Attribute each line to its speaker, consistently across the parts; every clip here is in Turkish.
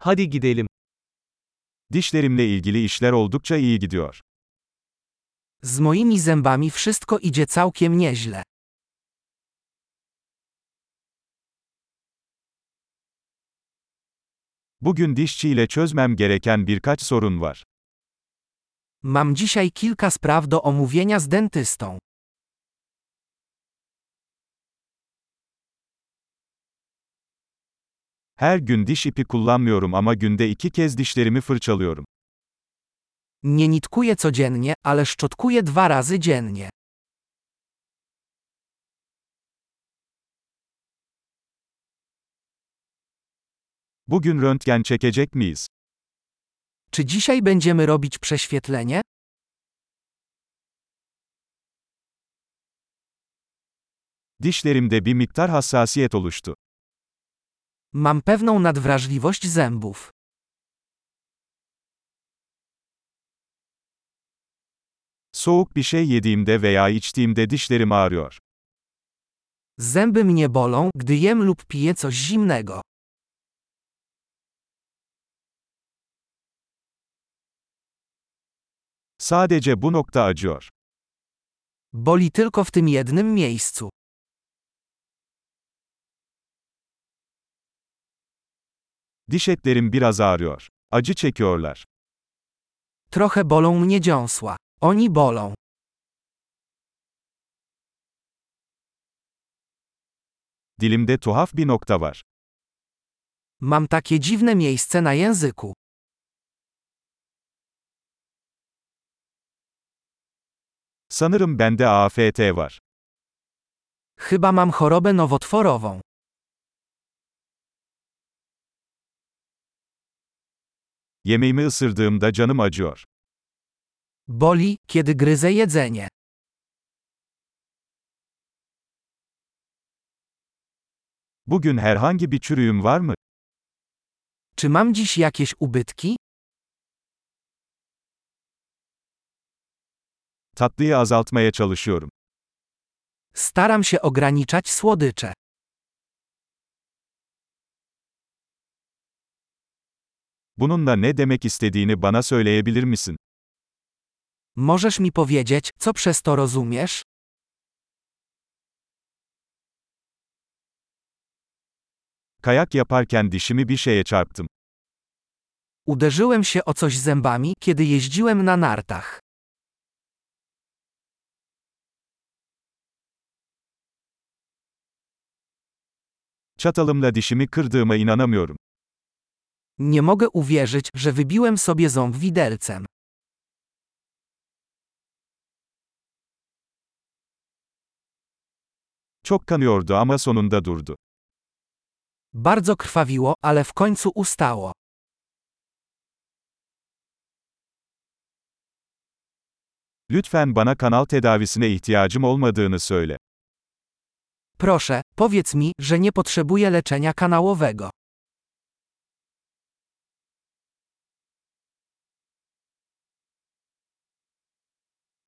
Speaker 1: Hadi gidelim.
Speaker 2: Dişlerimle ilgili işler oldukça iyi gidiyor.
Speaker 3: Z moimi zębami wszystko idzie całkiem nieźle.
Speaker 2: Bugün dişçiyle çözmem gereken birkaç sorun var.
Speaker 3: Mam dzisiaj kilka spraw do omówienia z dentystą.
Speaker 2: Her gün diş ipi kullanmıyorum ama günde iki kez dişlerimi fırçalıyorum.
Speaker 3: Nie nitkuję codziennie, ale szczotkuję dwa razy dziennie.
Speaker 2: Bugün röntgen çekecek miyiz?
Speaker 3: Czy dzisiaj będziemy robić prześwietlenie?
Speaker 2: Dişlerimde bir miktar hassasiyet oluştu.
Speaker 3: Mam pewną nadwrażliwość zębów.
Speaker 2: Soğuk bir şey yediğimde veya içtiğimde dişlerim ağrıyor.
Speaker 3: Zęby mnie bolą, gdy jem lub piję coś zimnego.
Speaker 2: Sadece bu nokta acıyor.
Speaker 3: Boli tylko w tym jednym miejscu.
Speaker 2: Diş etlerim biraz ağrıyor. Acı çekiyorlar.
Speaker 3: Trochę bolą mnie dziąsła. Oni bolą.
Speaker 2: Dilimde tuhaf bir nokta var.
Speaker 3: Mam takie dziwne miejsce na języku.
Speaker 2: Sanırım bende AFT var.
Speaker 3: Chyba mam chorobę nowotworową.
Speaker 2: Yemeğimi ısırdığımda canım acıyor.
Speaker 3: Boli, kiedy gryzę jedzenie.
Speaker 2: Bugün herhangi bir çürüğüm var mı?
Speaker 3: Czy mam dziś jakieś ubytki?
Speaker 2: Tatlıyı azaltmaya çalışıyorum.
Speaker 3: Staram się ograniczać słodycze.
Speaker 2: Bununla ne demek istediğini bana söyleyebilir misin?
Speaker 3: Możesz mi powiedzieć, co przez to rozumiesz?
Speaker 2: Kayak yaparken dişimi bir şeye çarptım.
Speaker 3: Uderzyłem się o coś zębami, kiedy jeździłem na nartach.
Speaker 2: Çatalımla dişimi kırdığıma inanamıyorum.
Speaker 3: Nie mogę uwierzyć, że wybiłem sobie ząb widelcem.
Speaker 2: Çok kanıyordu ama sonunda durdu.
Speaker 3: Bardzo krwawiło, ale w końcu ustało.
Speaker 2: Lütfen bana kanal tedavisine ihtiyacım olmadığını söyle.
Speaker 3: Proszę, powiedz mi, że nie potrzebuję leczenia kanałowego.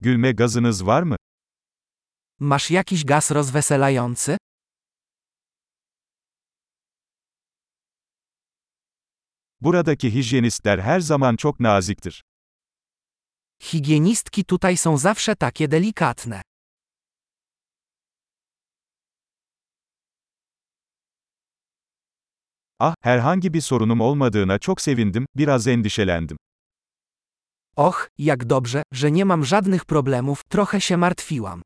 Speaker 2: Gülme gazınız var mı?
Speaker 3: Masz jakiś gaz rozweselający?
Speaker 2: Buradaki hijyenistler her zaman çok naziktir.
Speaker 3: Higienistki tutaj są zawsze takie delikatne.
Speaker 2: Ah, herhangi bir sorunum olmadığına çok sevindim, biraz endişelendim.
Speaker 3: Och, jak dobrze, że nie mam żadnych problemów, trochę się martwiłam.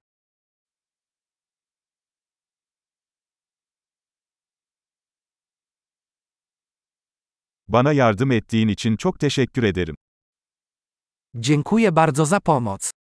Speaker 2: Bana yardım ettiğin için çok teşekkür ederim.
Speaker 3: Dziękuję bardzo za pomoc.